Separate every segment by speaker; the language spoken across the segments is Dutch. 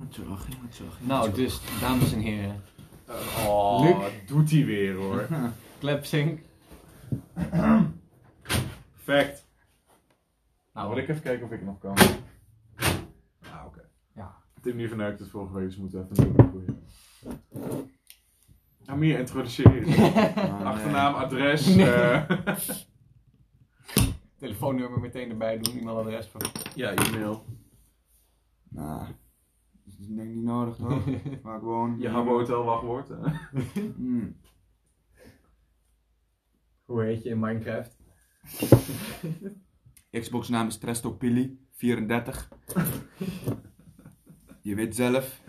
Speaker 1: Natuurlijk, natuurlijk.
Speaker 2: Nou, dus, dames en heren.
Speaker 3: Oh,
Speaker 2: Luc?
Speaker 3: doet hij weer hoor.
Speaker 2: Klepsing.
Speaker 3: Perfect. Nou, wil
Speaker 2: Nou,
Speaker 3: ik even kijken of ik nog kan. Ah, oké.
Speaker 2: Ja.
Speaker 3: Tim die verneukt het vorige week, dus we moeten even een nieuwe proberen. Amir, introduceer je. Achternaam, ah. adres.
Speaker 2: Nee.
Speaker 3: eh,
Speaker 2: telefoonnummer meteen erbij doen, e-mailadres. Van...
Speaker 3: ja, e-mail.
Speaker 1: Nou, dat is denk ik niet nodig toch? Waar ik woon.
Speaker 3: Je Habbo Hotel wachtwoord. eh.
Speaker 1: Mm.
Speaker 4: Hoe heet je in Minecraft?
Speaker 1: Xbox naam is Trestopilly, 34. Je weet zelf.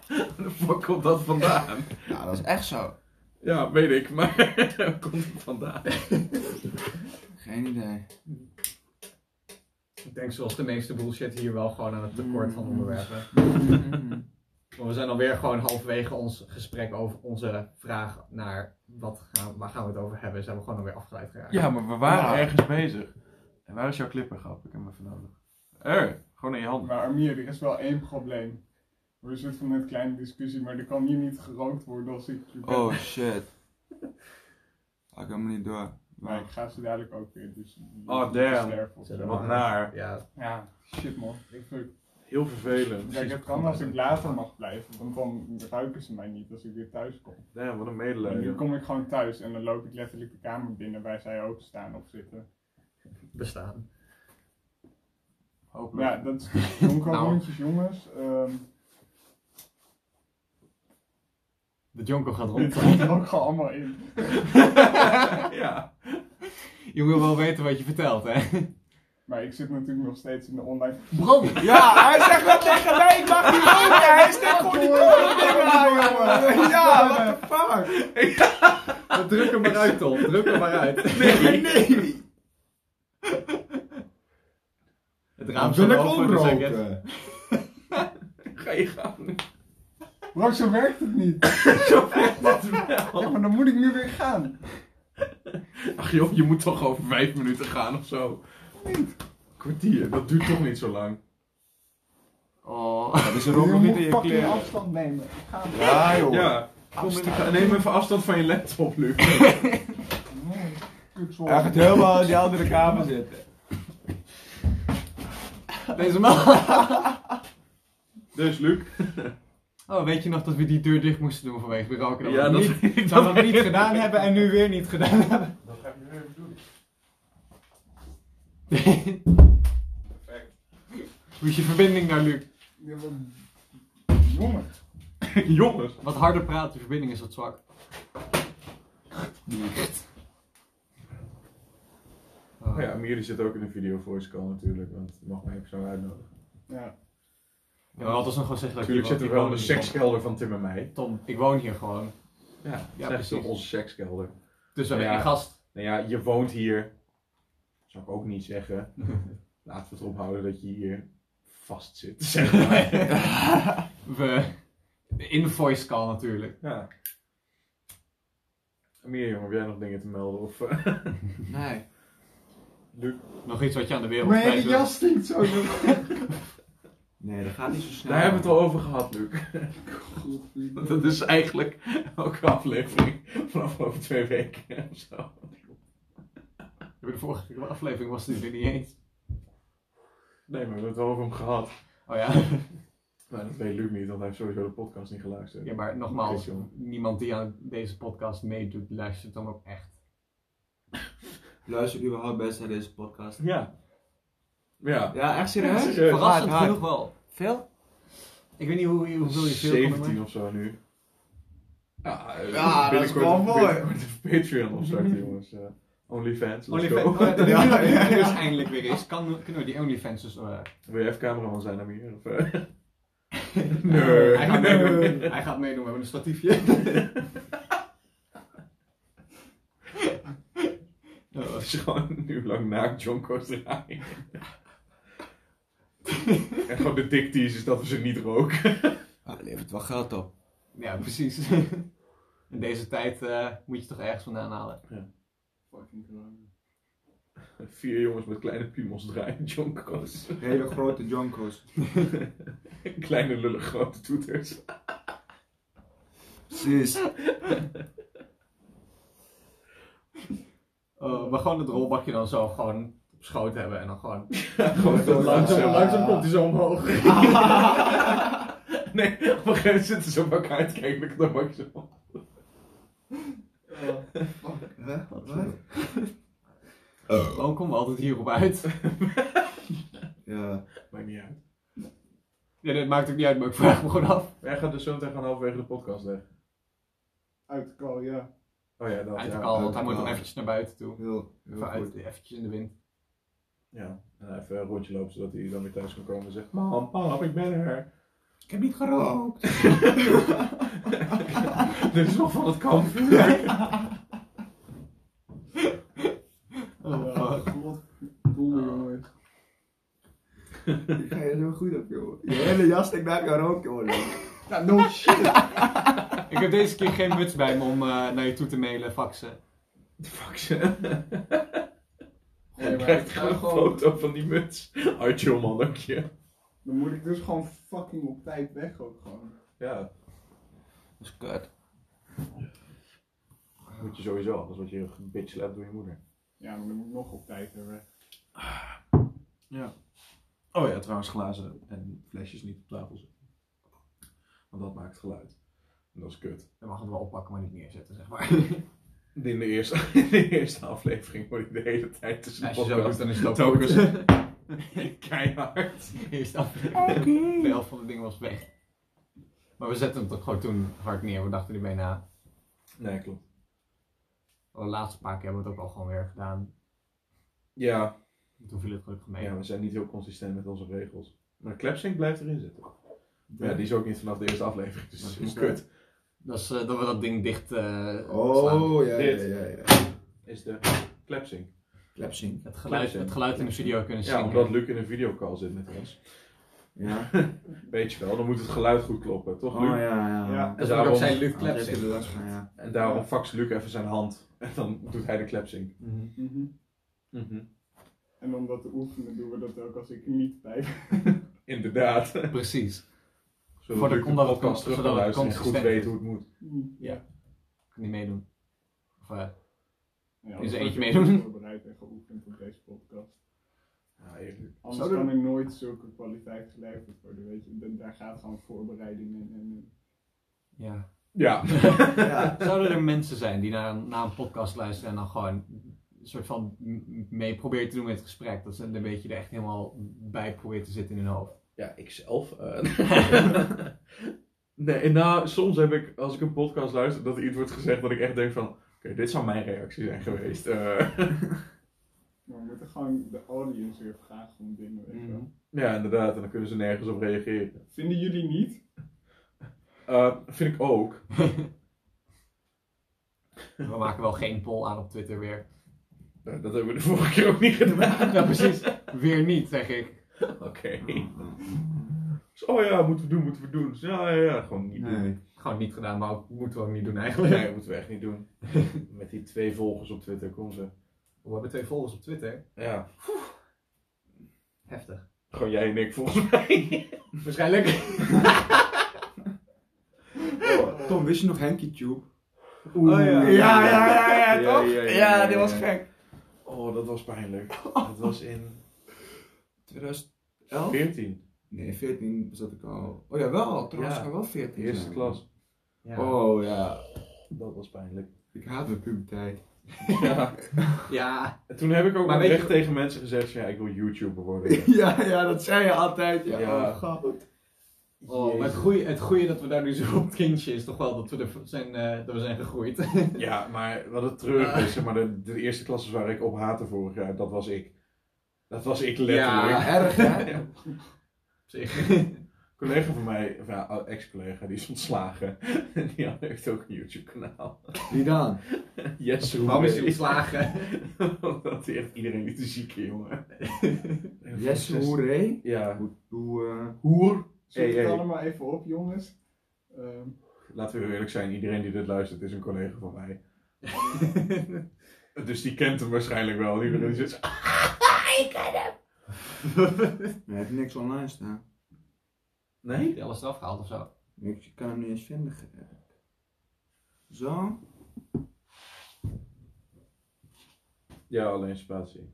Speaker 3: Waar de fuck komt dat vandaan?
Speaker 1: Ja, dat is echt zo.
Speaker 3: Ja, weet ik, maar waar komt het vandaan?
Speaker 1: Geen idee.
Speaker 4: Ik denk zoals de meeste bullshit hier wel gewoon aan het tekort van onderwerpen.
Speaker 2: Mm.
Speaker 4: Maar we zijn alweer gewoon halverwege ons gesprek over onze vraag naar wat gaan, waar gaan we het over hebben. Zijn we gewoon alweer afgeleid geraakt.
Speaker 3: Ja, maar we waren
Speaker 2: Ja.
Speaker 3: ergens bezig. En waar is jouw clipper, grap? Ik heb hem even nodig. Er, gewoon in je hand.
Speaker 5: Maar Amir, er is wel één probleem. We zitten van een kleine discussie, maar er kan hier niet gerookt worden als ik hier ben.
Speaker 1: Oh shit. Ga ik helemaal niet door.
Speaker 5: Maar ik ga ze dadelijk ook weer, dus...
Speaker 3: Oh, damn.
Speaker 5: sterven of zo.
Speaker 4: Zullen we
Speaker 3: Wat
Speaker 4: maar-
Speaker 3: naar.
Speaker 4: Ja,
Speaker 5: Ja, shit man. Ik vind-
Speaker 3: Heel vervelend.
Speaker 5: Kijk, het kan als ik later mag blijven, want dan ruiken ze mij niet als ik weer thuis kom.
Speaker 3: Damn, wat een
Speaker 5: Maar nu
Speaker 3: medelijden.
Speaker 5: kom ik gewoon thuis en dan loop ik letterlijk de kamer binnen waar zij ook staan of zitten.
Speaker 4: bestaan.
Speaker 3: Hopelijk.
Speaker 5: Ja, dat is donker
Speaker 4: Nou.
Speaker 5: rondjes jongens. Ehm,
Speaker 2: De jonko gaat rond.
Speaker 5: dit komt er ook gewoon allemaal in.
Speaker 3: ja.
Speaker 2: Je wil wel weten wat je vertelt, hè?
Speaker 5: Maar ik zit natuurlijk nog steeds in de online...
Speaker 2: Bro!
Speaker 1: Ja, hij zegt wel tegen mij, ik mag niet roken. Hij steekt gewoon die kokosdingen aan. Ja, what the fuck.
Speaker 4: Druk hem maar uit, Tom. Druk hem maar uit.
Speaker 1: Nee, nee.
Speaker 2: Het raam staat open, dus I guess-
Speaker 3: Ga je gaan.
Speaker 5: Bro, zo werkt het niet. Ja, maar dan moet ik nu weer gaan.
Speaker 3: Ach joh, je moet toch over vijf minuten gaan of zo. Kwartier, dat duurt toch niet zo lang.
Speaker 2: Oh.
Speaker 1: Dus er
Speaker 5: Je
Speaker 1: ook nog niet
Speaker 5: moet
Speaker 1: in je
Speaker 5: fucking
Speaker 1: kleren.
Speaker 5: afstand nemen. Ga maar.
Speaker 1: Ja, joh.
Speaker 3: Ja. Kom in de ka- neem even afstand van je laptop, Luc.
Speaker 5: Nee, kutsel.
Speaker 1: Hij gaat helemaal in die andere kamer zitten.
Speaker 2: Deze man.
Speaker 3: Dus Luc.
Speaker 2: Oh, weet je nog dat we die deur dicht moesten doen vanwege de roken? Dat
Speaker 3: Ja,
Speaker 2: we
Speaker 3: dat
Speaker 2: niet,
Speaker 3: weet ik
Speaker 2: dat we
Speaker 3: nog.
Speaker 2: dat niet gedaan hebben en nu weer niet gedaan hebben.
Speaker 5: Dat ga ik nu even doen.
Speaker 2: Hoe is je verbinding nou, Luc?
Speaker 5: Ja, maar- Jongen.
Speaker 3: Jongens.
Speaker 2: Wat harder praat, de verbinding is wat zwak. Oh,
Speaker 3: Oh ja, Amir die zit ook in een video voice call natuurlijk, want je mag mij even zo uitnodigen.
Speaker 5: Ja.
Speaker 2: Ja, maar wat als nog gewoon zeggen dat
Speaker 3: Natuurlijk
Speaker 2: ik
Speaker 3: zitten
Speaker 2: hier
Speaker 3: we
Speaker 2: woon?
Speaker 3: wel in de
Speaker 2: Ik woon hier
Speaker 3: sekskelder van Tim en mij.
Speaker 2: gewoon. Tom, ik woon hier gewoon.
Speaker 3: Ja,
Speaker 2: Ja,
Speaker 3: dat is toch
Speaker 2: precies.
Speaker 3: onze sekskelder.
Speaker 2: Dus dan ben
Speaker 3: Ja.
Speaker 2: je gast.
Speaker 3: Nou ja, je woont hier. Zou ik ook niet zeggen. Laten we het erop houden dat je hier vast zit. Zeg maar.
Speaker 2: We, in de voice call natuurlijk.
Speaker 3: ja. Mirjam, heb jij nog dingen te melden? Of, eh,
Speaker 1: Nee.
Speaker 3: Luc?
Speaker 2: Nog iets wat je aan de wereld
Speaker 5: Mijn
Speaker 2: kwijt
Speaker 5: hele
Speaker 2: wil.
Speaker 5: jas stinkt zo.
Speaker 1: Nee, dat gaat niet zo snel.
Speaker 3: Daar hebben we het al over gehad, Luc. Dat is eigenlijk elke aflevering vanaf over twee weken of zo.
Speaker 2: Bij de vorige aflevering was het er niet eens.
Speaker 3: Nee, maar we hebben het wel over hem gehad.
Speaker 2: Oh ja.
Speaker 3: Maar dat weet Luc niet, want hij heeft sowieso de podcast niet geluisterd.
Speaker 2: Ja, maar nogmaals,
Speaker 3: Oké, jongen.
Speaker 2: niemand die aan deze podcast meedoet, luistert dan ook echt.
Speaker 1: Luister überhaupt best naar deze podcast.
Speaker 3: Ja. Ja.
Speaker 1: Ja, echt serieus?
Speaker 3: Serieus.
Speaker 2: Verrassend
Speaker 1: Hard, hard.
Speaker 2: genoeg wel.
Speaker 1: Veel?
Speaker 2: Ik weet niet hoe, hoeveel je veel kan
Speaker 3: 17
Speaker 2: doen.
Speaker 3: of zo nu. Ja, eh,
Speaker 1: Ja, dat is
Speaker 3: binnenkort
Speaker 1: wel
Speaker 3: op-
Speaker 1: mooi.
Speaker 3: binnenkort op Patreon opstarten, jongens. Eh, OnlyFans, let's
Speaker 2: OnlyFans,
Speaker 3: go.
Speaker 2: oh, nu dat
Speaker 1: Ja,
Speaker 2: het
Speaker 1: ja, ja.
Speaker 2: dus eindelijk weer is, kan, kunnen we die OnlyFans dus... eh,
Speaker 3: Wil je even cameraman zijn, Amir? Of, eh? nee.
Speaker 2: hij, gaat meedoen, hij gaat meedoen, we hebben een statiefje.
Speaker 3: Dat is gewoon een uur lang naakt jonkos draaien. en gewoon de dikties is dat we ze niet roken.
Speaker 1: Ah, dat levert wel geld op.
Speaker 2: Ja, precies. In deze tijd eh, moet je toch ergens vandaan halen.
Speaker 3: Vier jongens met kleine piemels draaien jonkos.
Speaker 1: Hele grote jonkos.
Speaker 3: Kleine lullig grote toeters.
Speaker 1: Precies.
Speaker 2: Eh, maar gewoon het rolbakje dan zo gewoon op schoot hebben en dan gewoon...
Speaker 3: Gewoon zo
Speaker 2: Langzaam,
Speaker 3: langzaam.
Speaker 2: langzaam komt hij zo omhoog.
Speaker 3: Nee, op een gegeven moment zitten ze op elkaar uit te kijken. Dan mag je zo.
Speaker 1: Hè? Wat? Oh.
Speaker 2: Waarom komen we altijd hierop uit?
Speaker 1: Ja.
Speaker 3: Maakt niet uit.
Speaker 2: Ja, dat maakt ook niet uit, maar ik vraag me gewoon af.
Speaker 3: Jij gaat dus zo meteen gaan halverwege de podcast weg.
Speaker 5: Uit de call, ja.
Speaker 3: Oh ja, dat
Speaker 2: Uit de
Speaker 3: ja.
Speaker 2: kal, want
Speaker 1: uit de
Speaker 2: hij moet
Speaker 1: kal.
Speaker 2: dan eventjes naar buiten toe.
Speaker 1: Heel, heel
Speaker 2: Even, uit,
Speaker 1: goed.
Speaker 2: eventjes in de wind.
Speaker 3: Ja, en even een rondje lopen zodat hij dan weer thuis kan komen en zegt: Mam, pap, ik ben er.
Speaker 1: Ik heb niet gerookt.
Speaker 3: Dit is nog van het kamp.
Speaker 5: Oh, god. Boel, jongen.
Speaker 1: Ik ga je zo goed op, joh. Je hele jas stinkt naar jou rook, joh.
Speaker 5: Ja, no shit.
Speaker 2: Ik heb deze keer geen muts bij me om eh, naar je toe te mailen, faxen.
Speaker 3: Fuck ze.
Speaker 5: Gooi maar.
Speaker 3: krijgt gewoon een foto van die muts. Uit je mannetje.
Speaker 5: Dan moet ik dus gewoon fucking op tijd weg ook gewoon.
Speaker 3: Ja,
Speaker 1: Dat is kut.
Speaker 3: moet je sowieso. Anders word je bitch slapped door je moeder.
Speaker 5: Ja, maar dan moet ik nog op tijd hebben.
Speaker 6: Oh ja, trouwens glazen en flesjes niet op tafel zetten. Want dat maakt geluid.
Speaker 3: En dat is kut.
Speaker 2: Dan mag het wel oppakken, maar niet neerzetten, zeg maar.
Speaker 3: In de eerste, in de eerste aflevering word ik de hele tijd tussen de
Speaker 2: Als je
Speaker 6: dus
Speaker 2: zo doet,
Speaker 3: podcast
Speaker 2: dan is het ook
Speaker 3: Telkens.
Speaker 2: goed.
Speaker 3: keihard.
Speaker 2: Eerst af. De helft van de ding was weg. Maar we zetten hem toch gewoon toen hard neer. We dachten ermee na.
Speaker 3: Nee, klopt.
Speaker 2: Oh, De laatste paar keer hebben we het ook al gewoon weer gedaan.
Speaker 3: Ja.
Speaker 2: Toen viel het gelukkig mee.
Speaker 3: ja, we zijn niet heel consistent met onze regels. Maar Klepsink blijft erin zitten. Maar ja, die is ook niet vanaf de eerste aflevering, dus dat is helemaal kut.
Speaker 2: Dat, is, eh, dat we dat ding dicht eh slaan.
Speaker 1: Oh, ja, ja,
Speaker 3: Dit.
Speaker 1: ja. ja.
Speaker 3: Is de Klepsink.
Speaker 1: Klepsing.
Speaker 2: Het geluid, het geluid in de studio kunnen
Speaker 3: Ja,
Speaker 2: zien.
Speaker 3: omdat Luc in een videocall zit met ons.
Speaker 1: Ja.
Speaker 3: Weet je wel, dan moet het geluid goed kloppen, toch
Speaker 1: Oh,
Speaker 3: Luc?
Speaker 1: ja, ja.
Speaker 5: Ja.
Speaker 2: dat
Speaker 3: En
Speaker 2: is ook
Speaker 3: daarom,
Speaker 2: zijn Luc
Speaker 1: Ah, dat is
Speaker 2: Klepsing.
Speaker 1: de last van, ja.
Speaker 3: en daarom faxt Luc even zijn hand. En dan doet hij de Klepsink.
Speaker 5: Mhm. En om dat te oefenen doen we dat ook als ik er niet bij ben.
Speaker 3: Inderdaad. Zodat
Speaker 2: Precies. Voor de
Speaker 3: Luc
Speaker 2: contact-
Speaker 3: podcast terug kan
Speaker 2: zodat het
Speaker 3: luisteren en goed
Speaker 2: consistent
Speaker 3: weet
Speaker 2: is.
Speaker 3: hoe het moet.
Speaker 2: Ik kan niet meedoen. Of, eh,
Speaker 5: Ja,
Speaker 2: Is er
Speaker 5: dat
Speaker 2: eentje
Speaker 5: wordt
Speaker 2: meedoen?
Speaker 5: ook Voorbereid en geoefend op deze podcast.
Speaker 3: Ja, eerlijk.
Speaker 5: Anders
Speaker 2: Zouden-
Speaker 5: kan er nooit zulke kwaliteit geleverd worden, weet je. Dan- Daar gaat gewoon voorbereiding in. En, eh.
Speaker 2: ja.
Speaker 3: Ja.
Speaker 1: Ja.
Speaker 2: Zouden er mensen zijn die naar, naar een podcast luisteren en dan gewoon een soort van m- mee proberen te doen met het gesprek? Dat ze een beetje er echt helemaal bij proberen te zitten in hun hoofd.
Speaker 3: Ja, ikzelf. eh. nee, nou, soms heb ik, als ik een podcast luister, dat er iets wordt gezegd dat ik echt denk van... Oké, dit zou mijn reactie zijn geweest. Eh,
Speaker 5: maar we moeten gewoon de audience weer vragen om dingen, weet je wel.
Speaker 3: ja, inderdaad. En dan kunnen ze nergens op reageren.
Speaker 5: Vinden jullie niet?
Speaker 3: Eh, vind ik ook.
Speaker 2: We maken wel geen poll aan op Twitter weer.
Speaker 3: Eh, dat hebben we de vorige keer ook niet gedaan.
Speaker 2: Ja, precies. Weer niet, zeg ik.
Speaker 3: Oké. Dus, oh ja, moeten we doen, moeten we doen. Dus, ja, ja, ja, gewoon niet doen.
Speaker 1: Nee.
Speaker 2: Gewoon niet gedaan, maar ook, moeten we ook niet doen eigenlijk.
Speaker 3: Nee, moeten we echt niet doen. Met die twee volgers op Twitter, kom ze.
Speaker 2: We hebben twee volgers op Twitter.
Speaker 3: Ja,
Speaker 2: Heftig.
Speaker 3: gewoon jij en ik volgens mij.
Speaker 2: Waarschijnlijk.
Speaker 1: Tom, wist je nog Henkie Tube?
Speaker 3: Oeh,
Speaker 1: ja.
Speaker 7: Ja, ja, ja, ja,
Speaker 1: Ja,
Speaker 7: toch?
Speaker 1: ja, ja,
Speaker 7: Ja,
Speaker 1: ja,
Speaker 7: dit
Speaker 1: ja,
Speaker 7: was
Speaker 1: ja.
Speaker 7: gek.
Speaker 3: Oh, dat was pijnlijk. Dat was in
Speaker 1: 2011?
Speaker 3: 14,
Speaker 1: Nee, 14 zat ik al. Oh ja, wel. Toen was
Speaker 3: Ja.
Speaker 1: ik al wel 14.
Speaker 3: eerste
Speaker 1: zijn.
Speaker 3: klas.
Speaker 1: Oh ja.
Speaker 3: Dat was pijnlijk.
Speaker 1: Ik haat mijn puberteit.
Speaker 3: Ja.
Speaker 2: Ja.
Speaker 3: En toen heb ik
Speaker 2: Maar
Speaker 3: ook maar
Speaker 2: weet
Speaker 3: recht
Speaker 2: je-
Speaker 3: tegen mensen gezegd: van, ja, ik wil YouTuber worden.
Speaker 1: ja, ja, dat zei je altijd. Ja,
Speaker 3: Ja.
Speaker 1: oh god.
Speaker 2: Oh, maar het goede, het goeie dat we daar nu zo op het kindje is toch wel dat we er zijn, eh, dat we zijn gegroeid.
Speaker 3: Ja, maar wat het treurig is, zeg maar, de, de eerste klasses waar ik op haatte vorig jaar, dat was ik. Dat was ik letterlijk.
Speaker 1: Ja, erg hè?
Speaker 2: Op zich.
Speaker 3: Een collega van mij, of ja, ex-collega, die is ontslagen. En die had echt ook een YouTube-kanaal.
Speaker 1: Wie dan?
Speaker 3: Yes,
Speaker 2: Waarom
Speaker 3: hoe
Speaker 2: is hij ontslagen?
Speaker 3: Omdat hij echt iedereen liet te zieken, jongen.
Speaker 1: Jesse Hoeré?
Speaker 3: Ja.
Speaker 1: Hoe, hoe, eh,
Speaker 3: Hoer.
Speaker 5: Zoek
Speaker 3: Hey,
Speaker 5: het
Speaker 3: hey.
Speaker 5: allemaal even op, jongens. Ehm,
Speaker 3: Laten we eerlijk zijn, iedereen die dit luistert is een collega van mij. Dus die kent hem waarschijnlijk wel. Die die zegt,
Speaker 1: Hij heeft niks online staan.
Speaker 3: nee?
Speaker 2: Die alles eraf gehaald of zo.
Speaker 1: Niks, je kan hem niet eens vinden. gek. Zo.
Speaker 3: Ja, alleen spatie.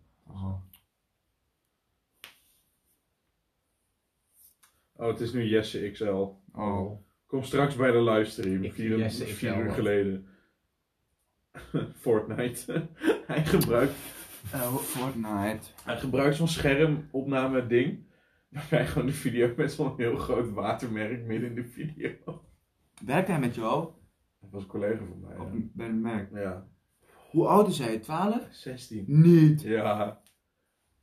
Speaker 3: Oh, het is nu Jesse XL.
Speaker 6: Oh.
Speaker 3: Kom straks bij de livestream.
Speaker 2: Ik-
Speaker 3: Vier,
Speaker 2: Jesse
Speaker 3: vier
Speaker 2: XL,
Speaker 3: uur
Speaker 2: wat?
Speaker 3: geleden. Fortnite. hij, gebruikt,
Speaker 1: Eh, Fortnite.
Speaker 3: hij gebruikt zo'n schermopname ding. Waarbij gewoon de video met zo'n heel groot watermerk midden in de video.
Speaker 1: Werkt hij met jou?
Speaker 3: Dat was een collega van mij.
Speaker 1: Op,
Speaker 3: ja.
Speaker 1: bij een merk.
Speaker 3: Ja.
Speaker 1: Hoe oud is hij? 12?
Speaker 3: 16.
Speaker 1: Niet.
Speaker 3: Ja.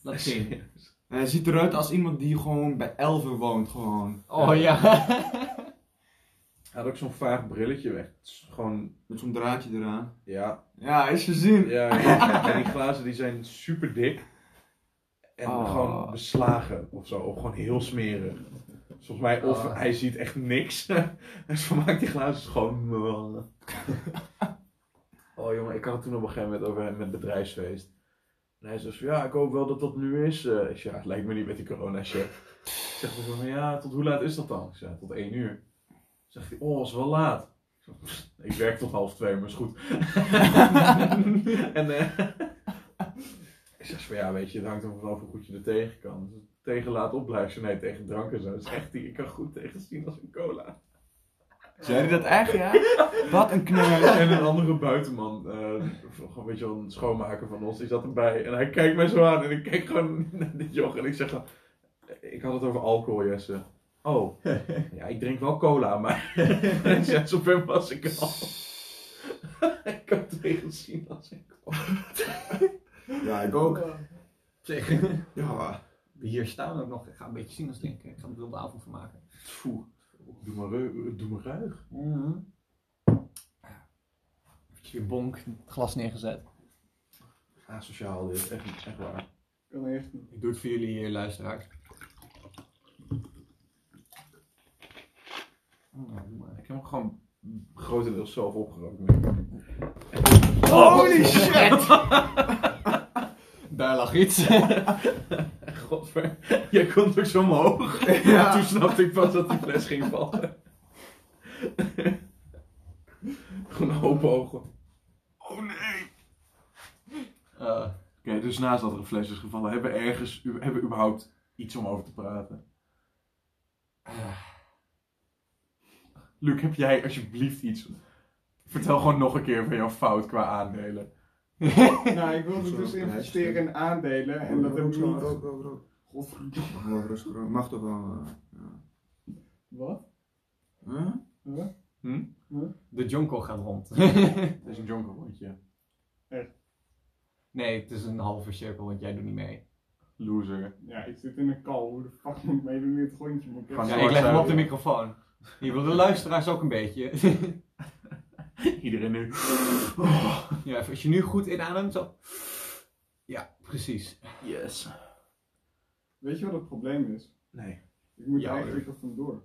Speaker 2: Laat zien.
Speaker 1: Hij ziet eruit als iemand die gewoon bij Elven woont. Gewoon.
Speaker 2: Oh ja.
Speaker 3: Hij had ook zo'n vaag brilletje weg. Het is gewoon,
Speaker 1: Met zo'n draadje eraan.
Speaker 3: ja.
Speaker 1: Ja, is gezien.
Speaker 3: ja en die glazen die zijn super dik. En
Speaker 1: Oh.
Speaker 3: gewoon beslagen of zo. Of gewoon heel smerig. Volgens mij, of
Speaker 2: Oh.
Speaker 3: hij ziet echt niks. en zo maakt die glazen gewoon... oh jongen, ik had het toen op een gegeven moment over hem met bedrijfsfeest. En hij zegt van, ja, ik hoop wel dat dat nu is. Eh, ik zeg, ja, het lijkt me niet met die corona-shit. Ik zeg dan zo van, ja, tot hoe laat is dat dan? Ik zeg, tot één uur. Zegt hij, oh, is wel laat. Ik zeg, "Pff, Ik werk tot half twee, maar is goed. en eh, ik zeg van, ja, weet je, het hangt er vanaf hoe goed je er tegen kan. Als het Tegen laat op blijft, nee, tegen drank en zo. Dat is echt, ik kan goed tegen zien als een cola.
Speaker 1: Zei hij dat echt, ja? Wat een knel.
Speaker 3: En een andere buitenman, eh, gewoon een beetje een schoonmaker van ons, die zat erbij. En hij kijkt mij zo aan en ik kijk gewoon naar dit joch en ik zeg gewoon, ik had het over alcohol, Jesse. Oh, ja, ik drink wel cola, maar ja, zo ver was ik al. ik kan tegen zien als ik al.
Speaker 1: Ja, ik ook.
Speaker 5: oh,
Speaker 2: Zeg,
Speaker 1: Ja.
Speaker 2: hier staan ook nog. Ik ga een beetje zien als denken. Ik ga er een wilde avond van maken.
Speaker 3: Foe. Doe maar, reu- doe maar ruig.
Speaker 2: Mhm. Eventjes je bonk, het glas neergezet.
Speaker 3: Asociaal dit, echt, echt waar.
Speaker 5: Kan echt niet.
Speaker 2: Ik doe het voor jullie eh, luisteraars.
Speaker 6: Oh,
Speaker 3: Ik heb hem gewoon grotendeels zelf opgerookt. nu.
Speaker 1: Holy shit!
Speaker 2: Daar lag iets.
Speaker 3: Godver, jij komt ook zo omhoog.
Speaker 1: Ja.
Speaker 3: Toen snapte ik pas dat die fles ging vallen. Gewoon open ogen.
Speaker 2: Eh,
Speaker 6: Oké, dus naast dat er een fles is gevallen, hebben we ergens u- hebben we überhaupt iets om over te praten? Eh. Luc, heb jij alsjeblieft iets? Vertel gewoon nog een keer van jouw fout qua aandelen.
Speaker 5: Nou, ik wilde dus investeren in aandelen en dat heb ik
Speaker 1: Rook,
Speaker 5: niet.
Speaker 1: rook, rook, rook.
Speaker 5: Godverdomme.
Speaker 1: Mag wel rustig roken. Mag toch wel. eh, ja.
Speaker 5: Wat?
Speaker 1: Huh?
Speaker 5: Huh?
Speaker 2: de jonko gaat rond.
Speaker 6: Dat is een jonker rondje.
Speaker 2: nee, het is een halve cirkel, want jij doet niet mee.
Speaker 6: Loser.
Speaker 5: Ja, ik zit in een kal. Hoe de fuck moet ik meedoen in het rondje? Moet ik
Speaker 6: Kan
Speaker 2: Ja,
Speaker 5: echt-
Speaker 2: ik leg hem op de microfoon. Je wil de luisteraars ook een beetje.
Speaker 6: Iedereen nu.
Speaker 2: ja, even als je nu goed inademt, zo. Ja, precies.
Speaker 6: Yes.
Speaker 5: Weet je wat het probleem is?
Speaker 3: Nee.
Speaker 5: Ik moet
Speaker 2: Ja,
Speaker 5: eigenlijk er vandoor.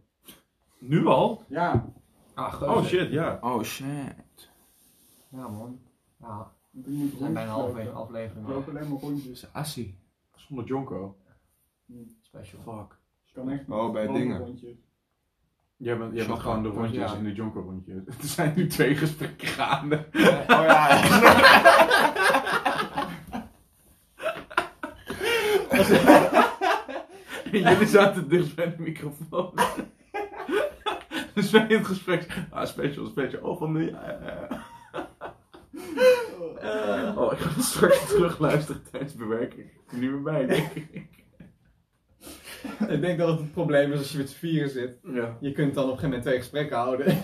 Speaker 6: Nu al?
Speaker 5: Ja,
Speaker 2: Ah, geuze.
Speaker 3: Oh shit, ja.
Speaker 1: Oh shit.
Speaker 2: Ja, man. Ja,
Speaker 5: want ik moet
Speaker 2: we zijn bijna
Speaker 5: rondjes
Speaker 2: halverwege
Speaker 5: lopen.
Speaker 2: aflevering.
Speaker 5: Ik
Speaker 2: man.
Speaker 5: loop alleen maar rondjes.
Speaker 1: Assie.
Speaker 3: Zonder Jonko.
Speaker 2: Special.
Speaker 3: Fuck.
Speaker 5: Ik kan echt niet.
Speaker 1: Oh, bij
Speaker 5: Gewoon
Speaker 1: dingen.
Speaker 5: rondjes.
Speaker 3: Jij bent, jij bent
Speaker 1: Shotgun.
Speaker 3: gewoon de rondjes
Speaker 2: Ja.
Speaker 3: in de Jonko rondje. Er zijn nu twee gesprekken gaande.
Speaker 1: Oh ja.
Speaker 3: En jullie zaten dicht bij de microfoon. dus bij het gesprek. Ah, special, special. Oh, van de. ja, ja, ja. Eh, oh, ik ga het straks terugluisteren tijdens bewerking. Ik kom niet meer bij, denk ik.
Speaker 2: Ik denk dat het het probleem is als je met z'n vieren zit.
Speaker 3: Ja.
Speaker 2: Je kunt dan op een gegeven moment twee gesprekken houden.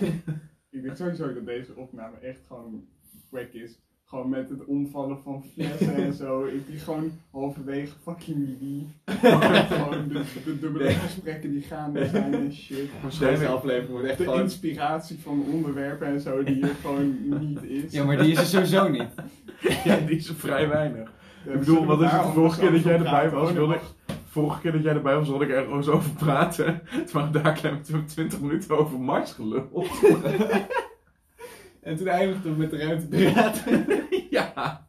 Speaker 5: Ik denk sowieso dat deze opname echt gewoon wack is. Gewoon met het omvallen van flessen en zo. Ik die gewoon halverwege fucking die. gewoon de, de dubbele gesprekken die gaande zijn en shit.
Speaker 2: Deze aflevering wordt echt
Speaker 5: De
Speaker 2: gewoon...
Speaker 5: inspiratie van onderwerpen en zo die er gewoon niet is.
Speaker 2: Ja, maar die is er sowieso niet.
Speaker 3: ja, die is vrij weinig.
Speaker 5: Ja,
Speaker 3: ik bedoel, wat is het de
Speaker 5: daarom
Speaker 3: vorige keer dat jij
Speaker 5: zo
Speaker 3: erbij
Speaker 5: praten.
Speaker 3: was?
Speaker 5: Oh,
Speaker 3: Wilde
Speaker 5: nee,
Speaker 3: ik, vorige keer dat jij erbij was, wilde ik er gewoon eens over praten. Terwijl daar klein 20 minuten over Mars gelul.
Speaker 2: En toen eindigde we met de ruimtedraad.
Speaker 3: ja.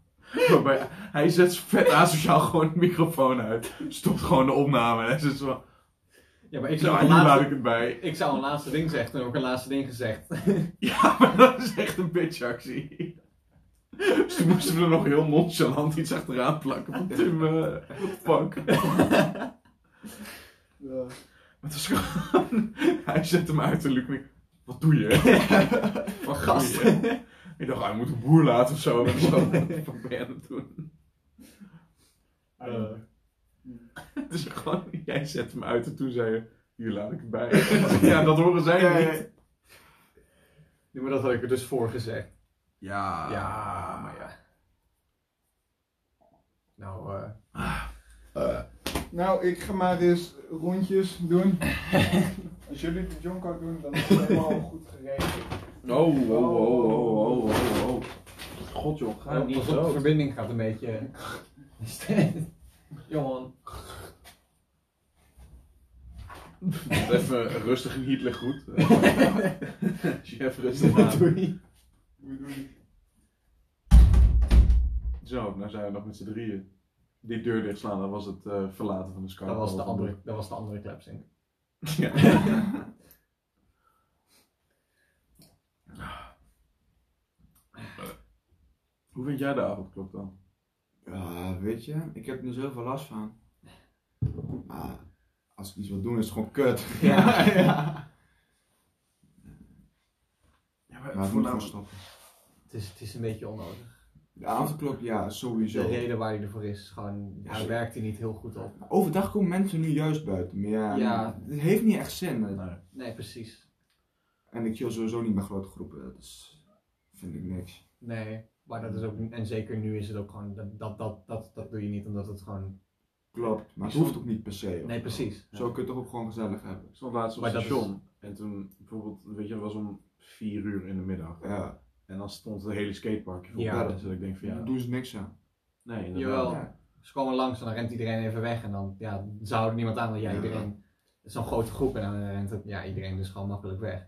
Speaker 6: Waarbij hij zet vet asociaal gewoon de microfoon uit. Stopt gewoon de opname. En hij zit zo.
Speaker 2: Ja, maar ik zou,
Speaker 6: Nou,
Speaker 2: een
Speaker 6: hier laat ik
Speaker 2: laatste,
Speaker 6: het bij.
Speaker 2: ik zou een laatste ding zeggen, toen heb ik een laatste ding gezegd.
Speaker 6: Ja, maar dat is echt een bitchactie. Dus toen moesten we er nog heel nonchalant iets achteraan plakken. Van Tim, eh, what the fuck.
Speaker 5: Ja.
Speaker 6: Het was gewoon... Hij zet hem uit en Luc en ik, Wat doe je? Wat
Speaker 2: gast.
Speaker 6: doe je? Ik dacht, hij moet een boer laten of zo. En ik zo, wat ben je aan het doen?
Speaker 5: Eh,
Speaker 6: Het is gewoon... Jij zet hem uit en toen zei je... Hier laat ik het bij. Ja, dat horen zij niet.
Speaker 2: Ja, maar dat had ik er dus voor gezegd.
Speaker 6: Ja.
Speaker 2: Ja, maar ja. Nou, eh,
Speaker 5: Nou, ik ga maar eens rondjes doen. Als jullie de Jonko doen, dan is het helemaal goed geregeld.
Speaker 6: Oh, oh, oh, oh, oh, oh, oh. God joh, ga
Speaker 2: pas op, de verbinding gaat een beetje... Johan.
Speaker 6: Even rustig in Hitler goed.
Speaker 3: Chef, rustig aan.
Speaker 5: We doen
Speaker 6: Zo, nou zijn we nog met z'n drieën. Die deur dichtslaan, dat was het eh, verlaten van de scar.
Speaker 2: Dat was de andere, dat was de andere klapsink.
Speaker 6: Ja. Hoe vind jij de avondklok dan?
Speaker 1: Ja, weet je, ik heb er zoveel last van. Maar als ik iets wil doen, is het gewoon kut. Ja, ja.
Speaker 6: Ja,
Speaker 1: Maar nou het moet gewoon stoppen.
Speaker 2: Het is, het is een beetje onnodig.
Speaker 1: De avondklok, ja, sowieso.
Speaker 2: De reden waar hij ervoor is, is gewoon,
Speaker 1: Ja,
Speaker 2: hij
Speaker 1: zo-
Speaker 2: werkt hij niet heel goed op.
Speaker 1: Overdag komen mensen nu juist buiten. Maar ja,
Speaker 2: Ja.
Speaker 1: het heeft niet echt zin.
Speaker 2: Nee, precies.
Speaker 1: En ik chill sowieso niet met grote groepen, dus vind ik niks.
Speaker 2: Nee, maar dat is ook, en zeker nu is het ook gewoon, dat, dat, dat, dat, dat doe je niet omdat het gewoon,
Speaker 1: Klopt, maar het hoeft ook niet per se. hoor.
Speaker 2: nee precies.
Speaker 1: Zo kun je het toch ook gewoon gezellig hebben.
Speaker 3: Ik stond laatst op
Speaker 2: Maar
Speaker 3: het
Speaker 2: dat
Speaker 3: station. En toen, bijvoorbeeld, weet je, dat was om vier uur in de middag.
Speaker 1: Ja,
Speaker 3: En dan stond het hele skateparkje vol.
Speaker 2: Ja.
Speaker 3: Ja. Dus dat ik denk van, ja,
Speaker 1: daar doen ze niks aan.
Speaker 3: nee, inderdaad.
Speaker 2: Jawel.
Speaker 1: Ja.
Speaker 2: Ze komen langs en dan rent iedereen even weg en dan ja, ze houden niemand aan, want ja,
Speaker 1: Ja.
Speaker 2: iedereen, het is zo'n grote groep en dan rent het, ja, iedereen dus gewoon makkelijk weg.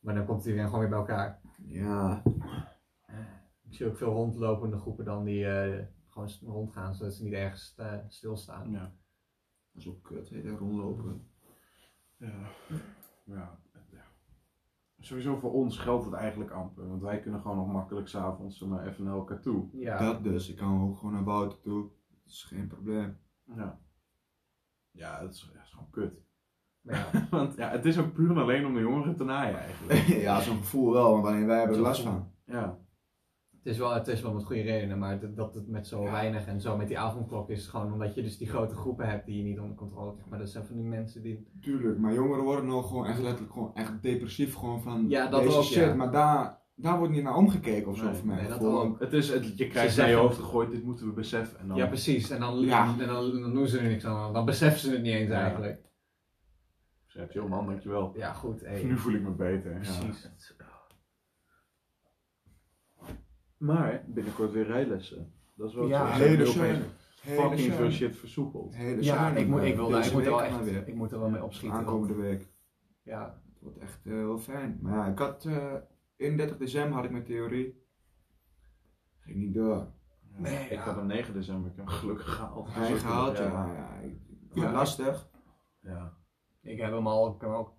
Speaker 2: Maar dan komt iedereen gewoon weer bij elkaar.
Speaker 1: Ja,
Speaker 2: Ik zie ook veel rondlopende groepen dan die eh, gewoon s- rondgaan, zodat ze niet ergens eh, stilstaan.
Speaker 3: Ja.
Speaker 1: dat is ook kut, hè, daar rondlopen.
Speaker 3: Ja. Ja. ja. Sowieso voor ons geldt het eigenlijk amper. Want wij kunnen gewoon nog makkelijk s'avonds maar even naar elkaar toe.
Speaker 2: Ja.
Speaker 1: Dat dus, ik kan ook gewoon naar buiten toe. Dat is geen probleem.
Speaker 3: Ja. Ja, dat is, dat is gewoon kut.
Speaker 2: Maar ja.
Speaker 3: Want ja, het is ook puur en alleen om de jongeren te naaien eigenlijk.
Speaker 1: ja, zo'n gevoel wel, want alleen wij hebben er last van.
Speaker 3: Ja.
Speaker 2: Het is, wel, het is wel met goede redenen, maar dat, dat het met zo
Speaker 1: Ja.
Speaker 2: weinig en zo met die avondklok is gewoon omdat je dus die grote groepen hebt die je niet onder controle krijgt. Maar dat zijn van die mensen die...
Speaker 1: Tuurlijk, maar jongeren worden nou gewoon echt letterlijk gewoon echt depressief gewoon van
Speaker 2: Ja, dat
Speaker 1: deze
Speaker 2: ook,
Speaker 1: shit.
Speaker 2: ja.
Speaker 1: Maar daar, daar wordt niet naar omgekeken of zo
Speaker 3: Nee,
Speaker 1: voor mij.
Speaker 2: nee, dat
Speaker 1: Gewoon-
Speaker 2: ook.
Speaker 3: Het is, het, je krijgt naar je
Speaker 2: zeggen-
Speaker 3: hoofd gegooid, dit moeten we beseffen. En dan,
Speaker 2: Ja, precies. En dan,
Speaker 1: Ja.
Speaker 2: En dan, dan doen ze er niks aan. Dan beseffen ze het niet eens
Speaker 3: Ja.
Speaker 2: eigenlijk.
Speaker 3: Zet, joh "Oh man, dankjewel.
Speaker 2: Ja, goed. Hey.
Speaker 6: Nu voel ik me beter. Ja.
Speaker 2: Precies.
Speaker 3: Maar binnenkort weer rijlessen. Dat is wel
Speaker 2: Ja,
Speaker 3: zo-
Speaker 1: hele
Speaker 3: zo-
Speaker 1: zuinig. Hele
Speaker 3: Fucking veel
Speaker 1: zuinig.
Speaker 3: shit versoepeld.
Speaker 1: Hele
Speaker 2: Ja,
Speaker 1: zuinig,
Speaker 2: ik moet,
Speaker 1: man.
Speaker 2: ik, wil, daar-
Speaker 1: eh, Deze
Speaker 2: ik moet er wel
Speaker 1: week gaan
Speaker 2: echt,
Speaker 1: we weer.
Speaker 2: ik moet er wel mee opschieten.
Speaker 1: Aankomende week.
Speaker 2: Ja,
Speaker 1: Het wordt echt eh, heel fijn. Maar ja, ik had eh 31 december had ik mijn theorie. Ging niet door.
Speaker 2: Nee,
Speaker 3: ik
Speaker 2: ja.
Speaker 3: had hem 9 december, ik heb hem gelukkig gehaald.
Speaker 1: Hij gehaald, ja. ja, ik-
Speaker 2: Ja.
Speaker 1: Lastig.
Speaker 3: Ja.
Speaker 2: ik heb hem al. Ik heb hem ook,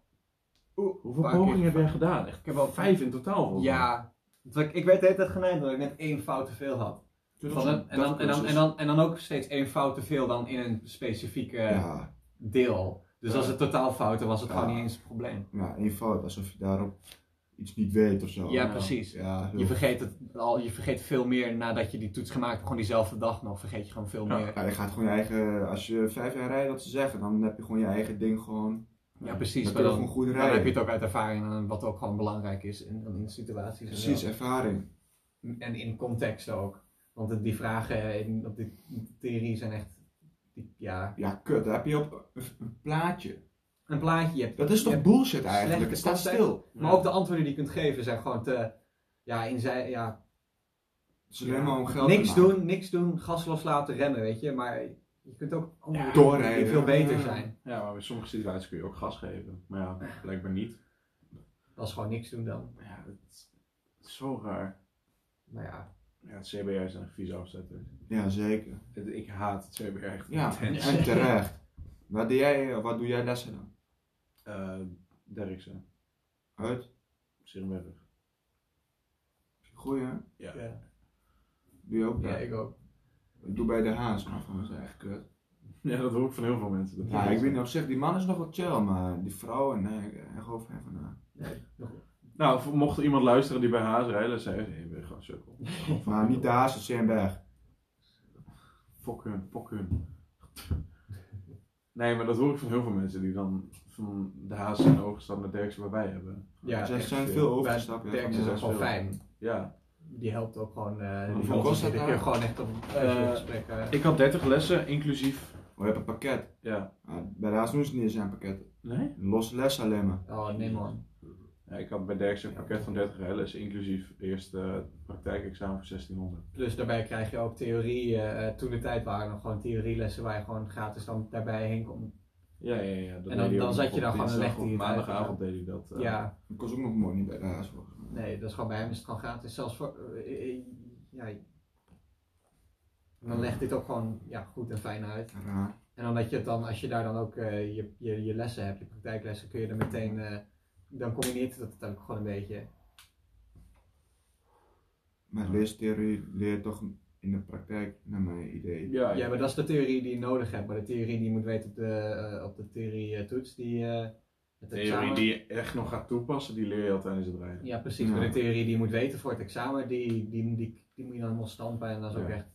Speaker 3: Hoeveel
Speaker 2: Vaak
Speaker 3: pogingen
Speaker 2: is-
Speaker 3: heb jij gedaan? Echt
Speaker 2: ik heb al
Speaker 3: vijf in totaal volgens mij.
Speaker 2: Ja. Want Ik, ik werd de hele tijd genaaid omdat ik net één fout te veel had. Van een- en, dan, en, dan, en, dan, en dan ook steeds één fout te veel dan in een specifieke
Speaker 1: Ja,
Speaker 2: deel. Dus als het totaal fouten was, het
Speaker 1: Ja.
Speaker 2: gewoon niet eens een probleem.
Speaker 1: ja, eenvoud. Alsof je daarop iets niet weet of zo.
Speaker 2: ja,
Speaker 3: ja.
Speaker 2: precies.
Speaker 1: Ja, heel-
Speaker 2: Je vergeet, het al, je vergeet veel meer nadat je die toets gemaakt hebt, gewoon diezelfde dag nog, vergeet je gewoon veel
Speaker 3: Ja.
Speaker 2: meer.
Speaker 1: Ja, je gaat gewoon je eigen, als je vijf jaar rijdt, wat ze zeggen, dan heb je gewoon je eigen ding gewoon.
Speaker 2: Ja,
Speaker 1: Dan
Speaker 2: precies. Maar
Speaker 1: kun je
Speaker 2: dan,
Speaker 1: gewoon goed
Speaker 2: dan
Speaker 1: rijden.
Speaker 2: heb je het ook uit ervaring, en wat ook gewoon belangrijk is in, in situaties. en zo.
Speaker 1: Precies, ervaring.
Speaker 2: En in context ook. Want het- die vragen in, op die theorie zijn echt. Die, ja.
Speaker 1: Ja, kut, daar heb je op een een plaatje.
Speaker 2: Een plaatje. Je hebt,
Speaker 1: Dat is toch
Speaker 2: je hebt-
Speaker 1: bullshit eigenlijk? Het staat
Speaker 2: context.
Speaker 1: stil.
Speaker 2: maar ook de antwoorden die je kunt geven zijn gewoon te. Ja, in zij, ja
Speaker 1: Het is alleen maar om geld
Speaker 2: niks
Speaker 1: te maken.
Speaker 2: doen, niks doen, gas loslaten, rennen, weet je. Maar je kunt ook andere
Speaker 1: doorrijden.
Speaker 2: die veel beter
Speaker 1: Ja.
Speaker 2: zijn.
Speaker 3: Ja, maar bij sommige situaties kun je ook gas geven. Maar ja, blijkbaar niet.
Speaker 2: Dat is gewoon niks doen dan.
Speaker 3: Ja, het is zo raar.
Speaker 2: Maar ja,
Speaker 3: Ja, het CBR is een vieze afzetter.
Speaker 1: Ja, zeker.
Speaker 3: Het- Ik haat het CBR echt
Speaker 1: Ja,
Speaker 3: intens.
Speaker 1: en terecht. Waar doe jij, wat doe jij lessen dan?
Speaker 3: Eh, Derksen,
Speaker 1: Uit?
Speaker 3: Sirmerweg.
Speaker 1: Goeie, hè?
Speaker 3: Ja.
Speaker 1: Doe je ook
Speaker 2: Ja,
Speaker 1: bij? ik...
Speaker 2: ik ook.
Speaker 1: doe bij de Haas, maar van, dat is echt kut.
Speaker 3: ja, dat hoor ik van heel veel mensen. Dat
Speaker 1: Ja, ik weet niet op zich, die man is nog wel chill, maar die vrouwen, nee, ik ik geloof er van na.
Speaker 3: Nou, voor- mocht er iemand luisteren die bij Haas rijden, zei hij, nee, ik ben gewoon sukkel.
Speaker 1: Maar niet de Haas, het Seenberg.
Speaker 3: Fok hun, fok hun. Nee, maar dat hoor ik van heel veel mensen die dan van de Haas in ogen staan naar Derksen waar wij hebben.
Speaker 2: Ja,
Speaker 1: Ze
Speaker 2: echt
Speaker 1: zijn
Speaker 3: veel.
Speaker 1: veel
Speaker 2: Bij
Speaker 1: overgestapt. ja, van
Speaker 2: Derks
Speaker 1: de
Speaker 2: is ook
Speaker 1: Haas.
Speaker 2: gewoon
Speaker 3: veel.
Speaker 2: fijn.
Speaker 3: Ja.
Speaker 2: Die helpt ook gewoon. eh
Speaker 1: Hoeveel
Speaker 2: die helpt
Speaker 1: kost dat nou?
Speaker 2: iedere keer gewoon echt op op
Speaker 3: Eh,
Speaker 2: gesprekken.
Speaker 3: Ik had 30 lessen, inclusief.
Speaker 1: We hebben een pakket.
Speaker 3: Ja.
Speaker 1: Maar bij de Haas doen ze niet eens aan pakketten.
Speaker 3: Nee?
Speaker 1: Los les alleen maar.
Speaker 2: Oh nee man.
Speaker 3: Ja, ik had bij Derksen een pakket van 30 lessen, inclusief eerst eh praktijkexamen voor 1600.
Speaker 2: Plus Dus daarbij krijg je ook theorie. eh, toen de tijd waren nog gewoon theorielessen waar je gewoon gratis dan daarbij heen kon.
Speaker 3: Ja, ja, ja. dat
Speaker 2: En dan-
Speaker 3: deed hij
Speaker 2: dan
Speaker 3: ook
Speaker 2: zat
Speaker 3: nog
Speaker 2: je daar
Speaker 3: op
Speaker 2: gewoon en
Speaker 3: dinsdag
Speaker 2: legde
Speaker 3: of
Speaker 2: hij het uit,
Speaker 3: Maandagavond deed hij dat. eh.
Speaker 2: Ja,
Speaker 1: Dat kost ook nog mooi niet bij de Haas. volgens mij.
Speaker 2: nee, dat is gewoon bij hem is het gewoon gratis. Zelfs voor. eh, eh, ja. Dan legt dit ook gewoon ja, goed en fijn uit.
Speaker 1: Raar.
Speaker 2: En dan dat je het dan, als je daar dan ook eh, je, je, je lessen hebt, je praktijklessen, kun je er meteen, eh, dan combineert dat het ook gewoon een beetje.
Speaker 1: Maar leestheorie leert toch in de praktijk, naar mijn idee.
Speaker 3: Ja,
Speaker 2: Ja, maar dat is de theorie die je nodig hebt, maar de theorie die je moet weten op de, eh, op de theorie-toets, die eh, het
Speaker 3: theorie die je echt nog gaat toepassen, die leer je al tijdens het rijden.
Speaker 2: Ja, precies,
Speaker 1: Ja.
Speaker 2: maar de theorie die je moet weten voor het examen, die, die, die, die moet je dan nog stand bij en dat is ook
Speaker 3: Ja.
Speaker 2: echt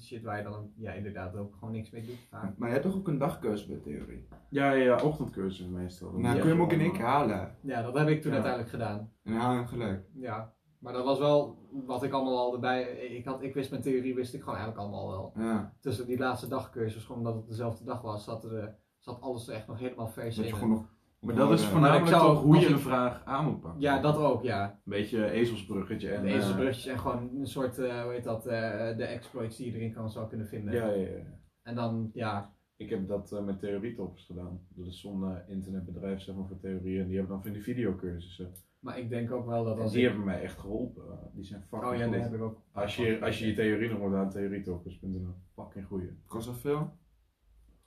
Speaker 2: shit waar je dan ja, inderdaad ook gewoon niks mee doet. vaak.
Speaker 1: Maar jij hebt toch ook een dagcursus bij theorie?
Speaker 3: Ja, ja, ja ochtendcursus meestal.
Speaker 1: Nou, kun je hem ook in één keer halen.
Speaker 2: Ja, dat heb ik toen
Speaker 3: Ja.
Speaker 2: uiteindelijk gedaan.
Speaker 1: En haal hem gelijk.
Speaker 2: Ja, maar dat was wel wat ik allemaal al erbij, ik, had, ik wist mijn theorie, wist ik gewoon eigenlijk allemaal wel.
Speaker 1: Ja,
Speaker 2: tussen die laatste dagcursus, gewoon omdat het dezelfde dag was, zat, er, eh, zat alles er echt nog helemaal vers
Speaker 1: dat
Speaker 2: in.
Speaker 1: je gewoon nog...
Speaker 3: Maar dat is
Speaker 1: Ja.
Speaker 3: voornamelijk
Speaker 2: Maar ik zou
Speaker 3: toch hoe
Speaker 2: nog
Speaker 3: je een
Speaker 2: een-
Speaker 3: vraag aan moet pakken.
Speaker 2: Ja, dat ook, ja.
Speaker 3: Een beetje ezelsbruggetje en...
Speaker 2: De
Speaker 3: eh,
Speaker 2: ezelsbrugjes en gewoon een soort, eh, hoe heet dat, eh, de exploits die je erin kan, zou kunnen vinden.
Speaker 3: Ja, ja, ja.
Speaker 2: En dan, ja,
Speaker 3: Ik heb dat eh, met theorietoppers gedaan. Dat is zo'n eh, internetbedrijf zeg maar, voor theorieën. En die hebben dan van die videocursussen.
Speaker 2: maar ik denk ook wel dat
Speaker 3: En
Speaker 2: als
Speaker 3: die
Speaker 2: ik...
Speaker 3: hebben mij echt geholpen. Die zijn fucking
Speaker 2: Oh ja, dat
Speaker 3: goed.
Speaker 2: heb ik ook.
Speaker 3: Als je, als je je theorie nog moet aan theorietoppers.nl. Fucking goeie.
Speaker 1: Kost dat veel?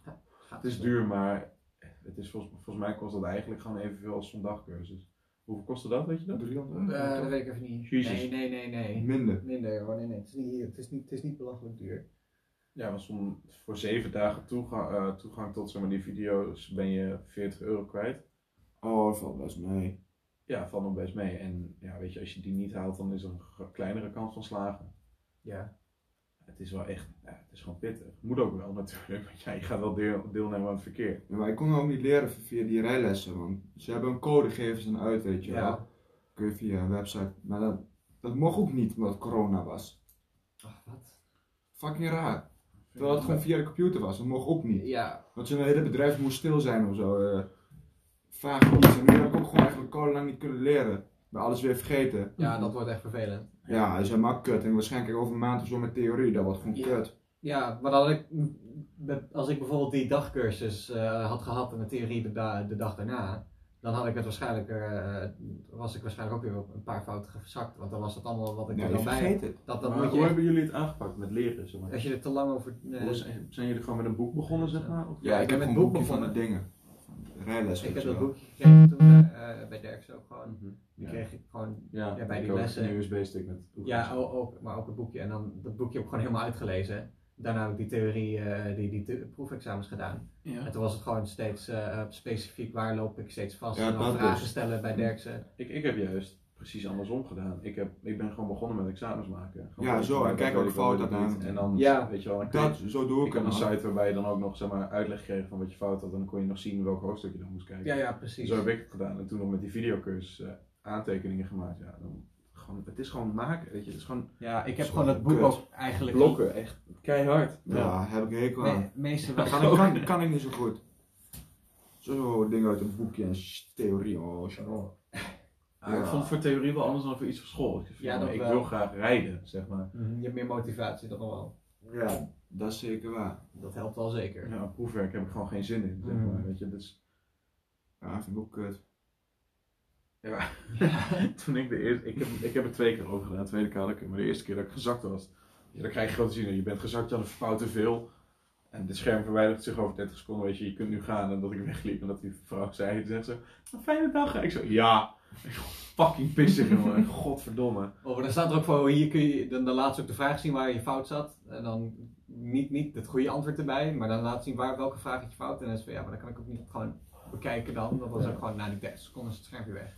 Speaker 2: Gaat
Speaker 3: Het is duur, maar het is volgens, volgens mij kost dat eigenlijk gewoon evenveel als zo'n dagcursus. Hoeveel kostte dat, weet je dat?
Speaker 1: 300
Speaker 2: Eh, dat
Speaker 1: euro?
Speaker 2: weet ik even niet. Nee,
Speaker 3: Jezus.
Speaker 2: nee, nee, nee.
Speaker 1: Minder.
Speaker 2: Minder, hoor, nee, nee. Het is niet, het is niet, het is niet belachelijk duur.
Speaker 3: Ja, want zo'n- voor zeven dagen toegang, eh, toegang tot zeg maar, die video's ben je 40 euro kwijt.
Speaker 1: Oh, dat valt best mee.
Speaker 3: Ja, valt nog best mee. En ja, weet je, als je die niet haalt, dan is er een gro- kleinere kans van slagen.
Speaker 2: Ja.
Speaker 3: Het is wel echt, ja, het is gewoon pittig. Moet ook wel natuurlijk, want ja, je gaat wel deel, deelnemen aan het verkeer.
Speaker 1: Ja, maar ik kon ook niet leren via die rijlessen, want ze hebben een code gegeven ze dan uit, weet je
Speaker 2: Ja.
Speaker 1: wel. Kun je via een website. Maar dat, dat mocht ook niet, omdat het corona was.
Speaker 2: Ach, wat?
Speaker 1: Fucking raar. Terwijl het gewoon via de computer was, dat mocht ook niet.
Speaker 2: Ja,
Speaker 1: Want zo'n hele bedrijf moest stil zijn of zo. eh. vaag iets. En nu heb ik ook gewoon eigenlijk al lang niet kunnen leren. Maar alles weer vergeten.
Speaker 2: ja, dat wordt echt vervelend.
Speaker 1: Ja, dat is helemaal kut. En waarschijnlijk over een maand of zo met theorie. Dat wordt gewoon
Speaker 2: Ja.
Speaker 1: kut.
Speaker 2: Ja, maar dan had ik, als ik bijvoorbeeld die dagcursus eh, had gehad en de theorie de, da- de dag daarna, dan had ik het waarschijnlijk, eh, was ik waarschijnlijk ook weer op een paar fouten gezakt. Want dan was dat allemaal wat ik
Speaker 1: Nee,
Speaker 2: er
Speaker 1: je
Speaker 2: dan bij had.
Speaker 1: vergeet het.
Speaker 2: Dat, dat
Speaker 3: Maar
Speaker 2: moet
Speaker 3: hoe
Speaker 2: je, echt-
Speaker 3: hebben jullie het aangepakt met leren? Zeg maar?
Speaker 2: als je er te lang over... eh, nee,
Speaker 3: Hoe zijn, zijn jullie gewoon met een boek begonnen, zeg maar? Of-
Speaker 1: Ja, ik heb
Speaker 2: met
Speaker 1: een
Speaker 2: boek
Speaker 1: boekje van de
Speaker 2: begonnen.
Speaker 1: dingen. Rijles.
Speaker 2: ik
Speaker 1: weet
Speaker 2: heb
Speaker 1: je
Speaker 2: dat
Speaker 1: wel.
Speaker 2: boekje gekregen toen eh, eh, bij Derks ook gewoon.
Speaker 3: Mhm.
Speaker 2: Die
Speaker 3: Ja.
Speaker 2: kreeg ik gewoon,
Speaker 3: Ja,
Speaker 2: Ja, bij
Speaker 3: ik
Speaker 2: die
Speaker 3: ook.
Speaker 2: lessen.
Speaker 3: Een USB-stick met
Speaker 2: ja, o- ook, maar ook het boekje. En dan dat boekje heb ik gewoon helemaal uitgelezen. Daarna heb ik die theorie, eh, die, die the- proefexamens gedaan. En
Speaker 3: Ja.
Speaker 2: toen was het gewoon steeds eh, specifiek waar loop ik steeds vast.
Speaker 1: Ja,
Speaker 2: en dan
Speaker 1: dat
Speaker 2: vragen
Speaker 1: dus.
Speaker 2: stellen bij Derksen.
Speaker 3: Ik, ik heb juist precies andersom gedaan. Ik, heb, ik ben gewoon begonnen met examens maken. Gewoon
Speaker 1: Ja,
Speaker 3: kijken
Speaker 1: zo,
Speaker 3: van,
Speaker 1: en
Speaker 3: wat
Speaker 1: kijk
Speaker 3: wil
Speaker 1: ook
Speaker 3: ik, wat wil
Speaker 1: fout
Speaker 3: ik
Speaker 1: aan.
Speaker 3: niet. En dan,
Speaker 2: Ja.
Speaker 3: weet je wel, dan kreeg-
Speaker 1: Dat, zo doe
Speaker 3: ik
Speaker 1: ik
Speaker 3: had
Speaker 1: het.
Speaker 3: een
Speaker 1: man.
Speaker 3: site waarbij je dan ook nog zeg maar, uitleg kreeg van wat je fout had. En dan kon je nog zien welk hoofdstuk je dan moest kijken.
Speaker 2: Ja, ja, precies.
Speaker 3: Zo heb ik het gedaan. En toen nog met die videocursus eh, aantekeningen gemaakt. Ja, dan, gewoon, het is gewoon maken, weet je. Het is gewoon
Speaker 2: Ja, ik
Speaker 1: heb gewoon het boek ook
Speaker 2: eigenlijk...
Speaker 3: blokken, echt keihard.
Speaker 1: Ja, heb ik hekel aan.
Speaker 2: meeste
Speaker 1: Kan, ik- kan, kan ik niet zo goed. Zo dingen uit een boekje en sh- theorie. Oh, shit.
Speaker 3: Ja, Ik vond het voor theorie wel anders dan voor iets voor school. Ik,
Speaker 2: Ja,
Speaker 3: ja,
Speaker 2: dat
Speaker 3: ik
Speaker 2: wel.
Speaker 3: wil graag rijden, zeg maar.
Speaker 2: Mhm, Je hebt meer motivatie dan wel.
Speaker 1: Ja, dat is zeker waar.
Speaker 2: Dat helpt wel zeker.
Speaker 3: Ja, proefwerk heb ik gewoon geen zin in, zeg maar.
Speaker 2: Mm.
Speaker 3: Weet je, dat is
Speaker 1: Ja, vind ik ook kut.
Speaker 3: Ja. Toen ik de eerste, ik heb, ik heb het twee keer over gedaan, de tweede keer had ik het, maar de eerste keer dat ik gezakt was, ja, dan krijg je gewoon te zien, je bent gezakt, je had een fout te veel. En het scherm verwijdert zich over 30 seconden, weet je, je kunt nu gaan. En dat ik wegliep en dat die vrouw zei, die zegt zo, "Een fijne dag. Ik zo, ja. Ik zo, fucking pissig, jongen. Godverdomme.
Speaker 2: Oh, maar dan staat er ook van, hier kun je, dan, dan laat ze ook de vraag zien waar je fout zat. En dan niet, niet het goede antwoord erbij, maar dan laat ze zien waar, welke vraag had je fout. En dan is het van, ja, maar dan kan ik ook niet gewoon bekijken dan. Dat was ook gewoon, na die 30 seconden is het schermpje weg.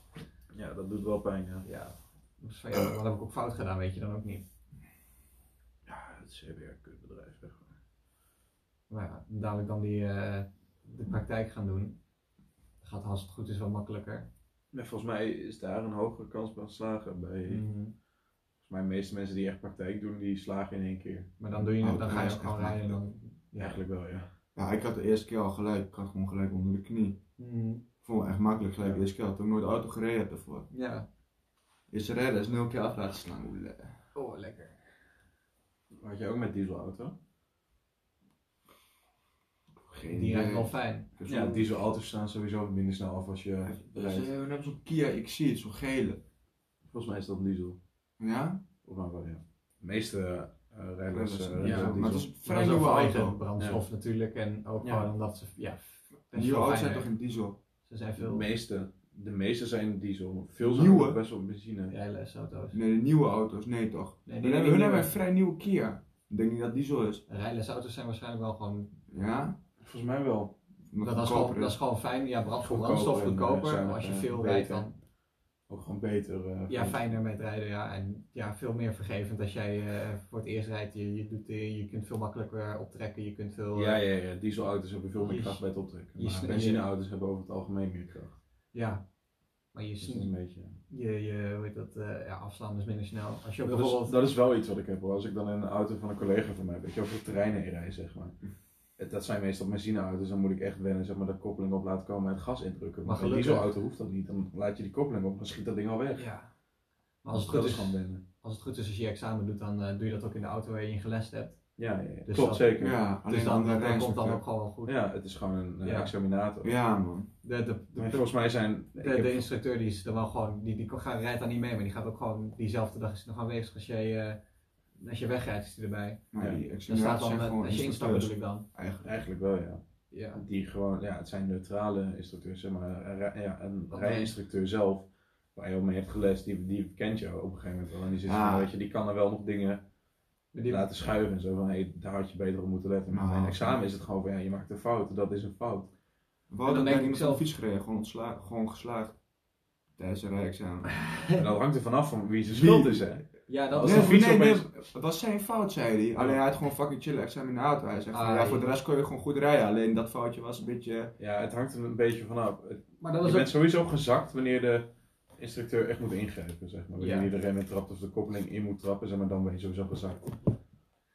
Speaker 3: Ja, dat doet wel pijn, ja.
Speaker 2: Ja. Dus van, ja, wat heb ik ook fout gedaan, weet je dan ook niet.
Speaker 3: Ja, het is weer een kutbedrijf, echt.
Speaker 2: Maar ja, dadelijk dan die, eh, de praktijk gaan doen. Dat gaat als het goed is wel makkelijker.
Speaker 3: Maar volgens mij is daar een hogere kans van slagen. Bij, Volgens mij de meeste mensen die echt praktijk doen, die slagen in één keer.
Speaker 2: Maar dan, doe je,
Speaker 1: Oh,
Speaker 2: het, dan
Speaker 1: dat
Speaker 2: ga je
Speaker 1: is
Speaker 2: ook
Speaker 1: echt
Speaker 2: gewoon rijden en dan...
Speaker 3: Ja, eigenlijk wel, ja.
Speaker 1: Ja, ik had de eerste keer al gelijk. Ik had gewoon gelijk onder de knie.
Speaker 2: Mhm.
Speaker 1: Ik vond me echt makkelijk gelijk de eerste keer. Toen ik nooit auto gereden heb daarvoor.
Speaker 2: Ja.
Speaker 1: Is redden is nul keer af laten slaan. Oeh,
Speaker 2: Oh, lekker.
Speaker 3: Had jij ook met dieselauto?
Speaker 1: Geen
Speaker 2: Die rijdt wel fijn.
Speaker 3: Ja, Dus dieselauto's staan sowieso minder snel af als je
Speaker 1: Dus,
Speaker 3: rijdt.
Speaker 1: we hebben zo'n Kia X-Seat, zo'n gele.
Speaker 3: Volgens mij is dat een diesel.
Speaker 1: Ja?
Speaker 3: Of maar wel, ja. De meeste eh
Speaker 1: Dat
Speaker 3: rijders
Speaker 1: is-
Speaker 3: eh,
Speaker 1: ja,
Speaker 3: rijden op
Speaker 1: maar
Speaker 3: diesel.
Speaker 1: het is een
Speaker 2: Maar
Speaker 1: vrij
Speaker 2: dat is
Speaker 1: nieuwe
Speaker 2: ook eigen
Speaker 1: auto.
Speaker 2: brandstof natuurlijk. En ook
Speaker 3: Ja.
Speaker 2: gewoon omdat ze... Ja, best
Speaker 1: Nieuwe
Speaker 2: wel
Speaker 1: auto's zijn
Speaker 2: fijn
Speaker 1: toch
Speaker 2: werken.
Speaker 1: een diesel?
Speaker 2: Ze zijn
Speaker 3: de
Speaker 2: veel...
Speaker 3: meeste. De meeste zijn diesel. maar Veel zijn
Speaker 1: Nieuwe?
Speaker 3: ook best wel benzine.
Speaker 2: Rijlesauto's.
Speaker 1: Nee, de nieuwe auto's, nee toch?
Speaker 2: Nee,
Speaker 1: hun
Speaker 2: die
Speaker 1: hebben, hun hebben een
Speaker 2: hebben
Speaker 1: vrij nieuwe Kia. Ik denk niet dat diesel is.
Speaker 2: Rijlesauto's zijn waarschijnlijk wel gewoon...
Speaker 1: Ja?
Speaker 3: Volgens mij wel.
Speaker 1: Omdat
Speaker 2: Dat
Speaker 1: het
Speaker 2: is gewoon,
Speaker 1: goedkoper
Speaker 2: dat is gewoon fijn. Ja, brand-
Speaker 3: Goedkoper
Speaker 2: brandstof
Speaker 3: en, eh,
Speaker 2: goedkoper.
Speaker 3: zuiniger
Speaker 2: Als je
Speaker 3: en
Speaker 2: veel
Speaker 3: beter.
Speaker 2: rijdt dan...
Speaker 3: Ook gewoon beter. eh,
Speaker 2: Ja,
Speaker 3: van-
Speaker 2: fijner met rijden, ja. En ja, veel meer vergevend als jij eh, voor het eerst rijdt. Je, je, doet, eh, je kunt veel makkelijker optrekken, je kunt veel... eh,
Speaker 3: Ja, ja, ja. Dieselauto's hebben veel meer
Speaker 2: Je-
Speaker 3: kracht bij het optrekken.
Speaker 2: je
Speaker 3: Maar
Speaker 2: sne-
Speaker 3: benzineauto's hebben over het algemeen meer kracht.
Speaker 2: ja. Maar je,
Speaker 3: Dus dat is een beetje...
Speaker 2: je, je hoe heet dat, eh, ja, afslaan is minder snel. Als je ook
Speaker 3: Dat is,
Speaker 2: bijvoorbeeld...
Speaker 3: dat is wel iets wat ik heb hoor. Als ik dan in een auto van een collega van mij, weet je, over de terreinen heen rijd, zeg maar. Het- Dat zijn meestal benzineauto's, dan moet ik echt wennen, zeg maar, de koppeling op laten komen en het gas indrukken.
Speaker 2: Maar
Speaker 3: Maar een
Speaker 2: gelukkig-
Speaker 3: dieselauto hoeft dat niet, dan laat je die koppeling op, dan schiet dat ding al weg. Dus
Speaker 2: Ja. Maar als het,
Speaker 3: dat
Speaker 2: goed is,
Speaker 3: gewoon wennen.
Speaker 2: als het goed is als je je examen doet, dan eh, doe je dat ook in de auto waar je in gelest hebt.
Speaker 3: Ja, ja, ja.
Speaker 2: Dus
Speaker 3: klopt
Speaker 2: dat-
Speaker 3: zeker. Ja.
Speaker 1: Ja, alleen
Speaker 2: dus
Speaker 1: dan eh,
Speaker 2: dan,
Speaker 1: de
Speaker 2: dat komt dan
Speaker 1: rijstrook.
Speaker 2: ook gewoon wel goed.
Speaker 3: het is gewoon een, eh,
Speaker 2: Ja.
Speaker 3: examinator.
Speaker 1: Ja man.
Speaker 2: De, de, de,
Speaker 3: Maar volgens mij zijn...
Speaker 2: de,
Speaker 3: ik heb-
Speaker 2: de instructeur die is er wel gewoon... Die, die gaat- rijdt daar niet mee, maar die gaat ook gewoon... Diezelfde dag is hij nog aanwezig als jij... eh, als je wegrijdt is hij erbij.
Speaker 1: Maar
Speaker 3: Ja.
Speaker 1: die
Speaker 2: Dan staat
Speaker 1: examinaties
Speaker 2: dan,
Speaker 1: zijn
Speaker 2: eh,
Speaker 1: gewoon
Speaker 2: als je instapt bedoel
Speaker 1: instructeurs.
Speaker 2: ik dan.
Speaker 1: Eigenlijk.
Speaker 3: Eigenlijk wel, ja.
Speaker 2: Ja.
Speaker 3: Die gewoon, ja, het zijn neutrale instructeurs, zeg maar. Een rij- Ja, een
Speaker 2: Oké.
Speaker 3: rijinstructeur zelf, waar je al mee hebt gelest, die, die kent jou op een gegeven moment wel. En die zit,
Speaker 1: Ja.
Speaker 3: van, weet je, die kan er wel nog dingen...
Speaker 2: Ah. Maar die- Oh,
Speaker 3: laten schuiven en zo van hey, daar had je beter op moeten letten. Maar
Speaker 1: Nou,
Speaker 3: bij een examen is het gewoon van ja, je maakt een fout, dat is een fout.
Speaker 1: We
Speaker 2: En dan
Speaker 1: hadden
Speaker 2: denk
Speaker 1: bij
Speaker 2: ik
Speaker 1: iemand
Speaker 2: zelf-
Speaker 1: zelf fiets gereden, gewoon, ontsla- gewoon geslaagd. Tijdens een rijexamen.
Speaker 3: En dat hangt er vanaf van wie zijn schuld is hè.
Speaker 2: Ja, dat
Speaker 3: Als
Speaker 2: is
Speaker 3: de fiets opeens-
Speaker 1: het was zijn fout, zei hij. Alleen hij had gewoon fucking chillen examinator. Hij zegt, van,
Speaker 2: Ah,
Speaker 1: ja, voor
Speaker 2: ja.
Speaker 1: de rest kon je gewoon goed rijden. Alleen dat foutje was een beetje...
Speaker 3: Ja, het hangt er een beetje vanaf. Het-
Speaker 2: Maar
Speaker 3: Je
Speaker 2: dat is ook...
Speaker 3: bent sowieso gezakt wanneer de instructeur echt moet ingrijpen, zeg maar.
Speaker 2: Ja.
Speaker 3: Wanneer je de remmen trapt of de koppeling in moet trappen, zeg maar, dan ben je sowieso gezakt.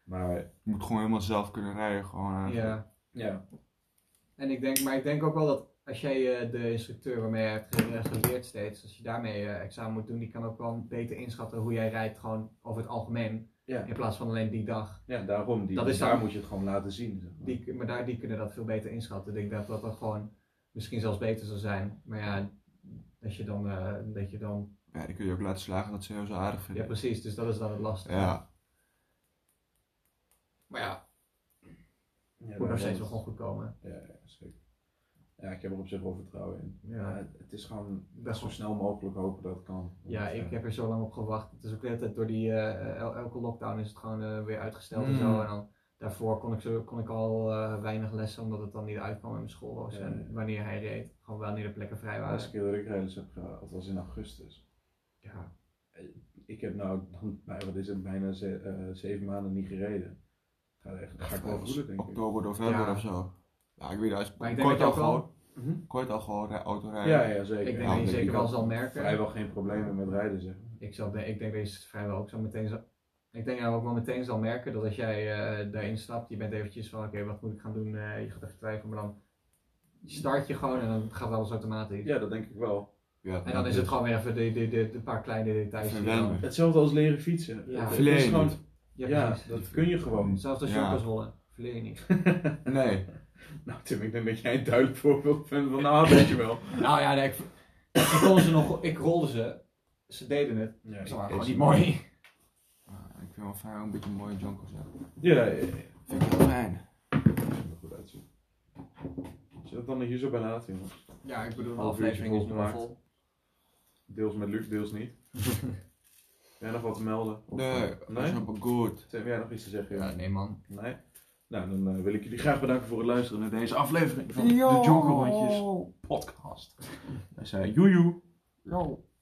Speaker 3: Maar
Speaker 1: Je moet gewoon helemaal zelf kunnen rijden. Gewoon, eh. eigenlijk.
Speaker 2: Ja.
Speaker 3: ja,
Speaker 2: En ik denk, maar ik denk ook wel dat als jij eh, de instructeur waarmee je hebt ge- eh, geleerd steeds, als je daarmee eh, examen moet doen, die kan ook wel beter inschatten hoe jij rijdt gewoon over het algemeen.
Speaker 3: Ja.
Speaker 2: In plaats van alleen die dag.
Speaker 3: ja daarom. Die, dus
Speaker 2: Dat is
Speaker 3: daar
Speaker 2: dan-
Speaker 3: moet je het gewoon laten zien. Zeg maar.
Speaker 2: Die, maar daar, die kunnen dat veel beter inschatten. Ik denk dat dat dan gewoon misschien zelfs beter zou zijn. Maar ja, dat je dan, eh, dat je dan...
Speaker 1: ja. die kun je ook laten slagen dat ze heel zo aardig
Speaker 2: Ja,
Speaker 1: vinden.
Speaker 2: precies. Dus dat is dan het lastige.
Speaker 1: Ja.
Speaker 2: Maar ja,
Speaker 3: Ja,
Speaker 2: het moet nog steeds wel
Speaker 3: daarom.
Speaker 2: gewoon goed komen.
Speaker 3: Ja, ja, zeker. Ja, ik heb er op zich wel vertrouwen in. Maar
Speaker 2: Ja,
Speaker 3: het- het is gewoon
Speaker 2: ik ben
Speaker 3: zo
Speaker 2: gewoon
Speaker 3: snel mogelijk hopen dat het kan.
Speaker 2: Ja,
Speaker 3: Want,
Speaker 2: ik
Speaker 3: eh,
Speaker 2: heb er zo lang op gewacht. Het is ook de hele tijd door die, eh, el- elke lockdown is het gewoon eh, weer uitgesteld en
Speaker 1: Mm.
Speaker 2: zo. En dan, daarvoor kon ik, zo, kon ik al eh, weinig lessen omdat het dan niet uitkwam in mijn schoolroos.
Speaker 3: Ja,
Speaker 2: En
Speaker 3: ja.
Speaker 2: wanneer hij reed, gewoon wanneer de plekken vrij
Speaker 3: De laatste
Speaker 2: waren.
Speaker 3: keer dat ik rijles heb gehad was in augustus.
Speaker 2: Ja,
Speaker 3: Ik heb nou, dan, bij- wat is het, bijna ze- eh, zeven maanden niet gereden. Ga, echt, ga ik wel voelen, denk ik.
Speaker 1: oktober, november
Speaker 2: Ja.
Speaker 1: of zo. Ja, ik weet het. als-
Speaker 2: Maar ik
Speaker 1: kon
Speaker 2: denk
Speaker 1: je het
Speaker 2: dat je
Speaker 1: al
Speaker 2: ook
Speaker 1: gewoon,
Speaker 3: Mhm.
Speaker 1: kon je het al gewoon rij- auto rijden.
Speaker 3: Ja, ja, zeker.
Speaker 2: ik
Speaker 1: Ja,
Speaker 2: denk dat je
Speaker 1: ik
Speaker 2: zeker wel
Speaker 3: had
Speaker 2: zal merken.
Speaker 3: Vrijwel geen problemen met rijden, zeg. maar.
Speaker 2: Ik, zal, de- ik denk dat je het vrijwel ook zo meteen zal... Ik denk dat je ook wel meteen zal merken dat als jij eh, daarin stapt, je bent eventjes van oké, wat moet ik gaan doen? Eh, je gaat even twijfelen, maar dan start je gewoon en dan gaat alles automatisch.
Speaker 3: Ja, dat denk ik wel.
Speaker 1: Ja,
Speaker 2: En dan is het gewoon weer even de, de, de, de paar kleine details. die je dan-
Speaker 1: Verwennen.
Speaker 3: Hetzelfde als leren fietsen.
Speaker 2: Ja.
Speaker 3: Het- het
Speaker 1: Verleer
Speaker 3: is
Speaker 1: je
Speaker 3: gewoon,
Speaker 2: Ja,
Speaker 3: ja,
Speaker 2: precies.
Speaker 3: dat kun je gewoon.
Speaker 2: Zelfs als
Speaker 1: Ja.
Speaker 2: Jokers rollen. Verleer je niet.
Speaker 1: Nee.
Speaker 3: Nou Tim, ik denk dat jij een duidelijk voorbeeld bent van, nou, weet je wel.
Speaker 2: nou ja, nee, ik, Ik, kon ze nog, ik rolde ze, ze deden het.
Speaker 3: Ja,
Speaker 2: Ze waren
Speaker 1: ik-
Speaker 2: gewoon
Speaker 1: ik-
Speaker 2: niet mooi.
Speaker 1: Ah, ik vind wel fijn om een beetje een mooie jonko zo.
Speaker 3: ja, ja. ja.
Speaker 1: Vind ik wel fijn.
Speaker 3: Dat ziet er goed uitzien. Zet het dan hier zo bij laten, jongens.
Speaker 2: Ja, ik bedoel, de
Speaker 3: Half
Speaker 2: aflevering
Speaker 3: uurtje
Speaker 2: is nu al
Speaker 3: volgemaakt.
Speaker 2: vol.
Speaker 3: Deels met Luc, deels niet. Heb jij nog wat te melden? Of-
Speaker 1: Nee, dat is
Speaker 3: nee?
Speaker 1: helemaal goed.
Speaker 3: Heb jij nog iets te zeggen?
Speaker 2: Ja,
Speaker 3: jongen?
Speaker 2: nee man.
Speaker 3: Nee? Nou, dan eh, wil ik jullie graag bedanken voor het luisteren naar deze aflevering van
Speaker 1: Yo.
Speaker 3: de Jonkerhondjes podcast. Wij zijn Joejoe.
Speaker 1: Yo.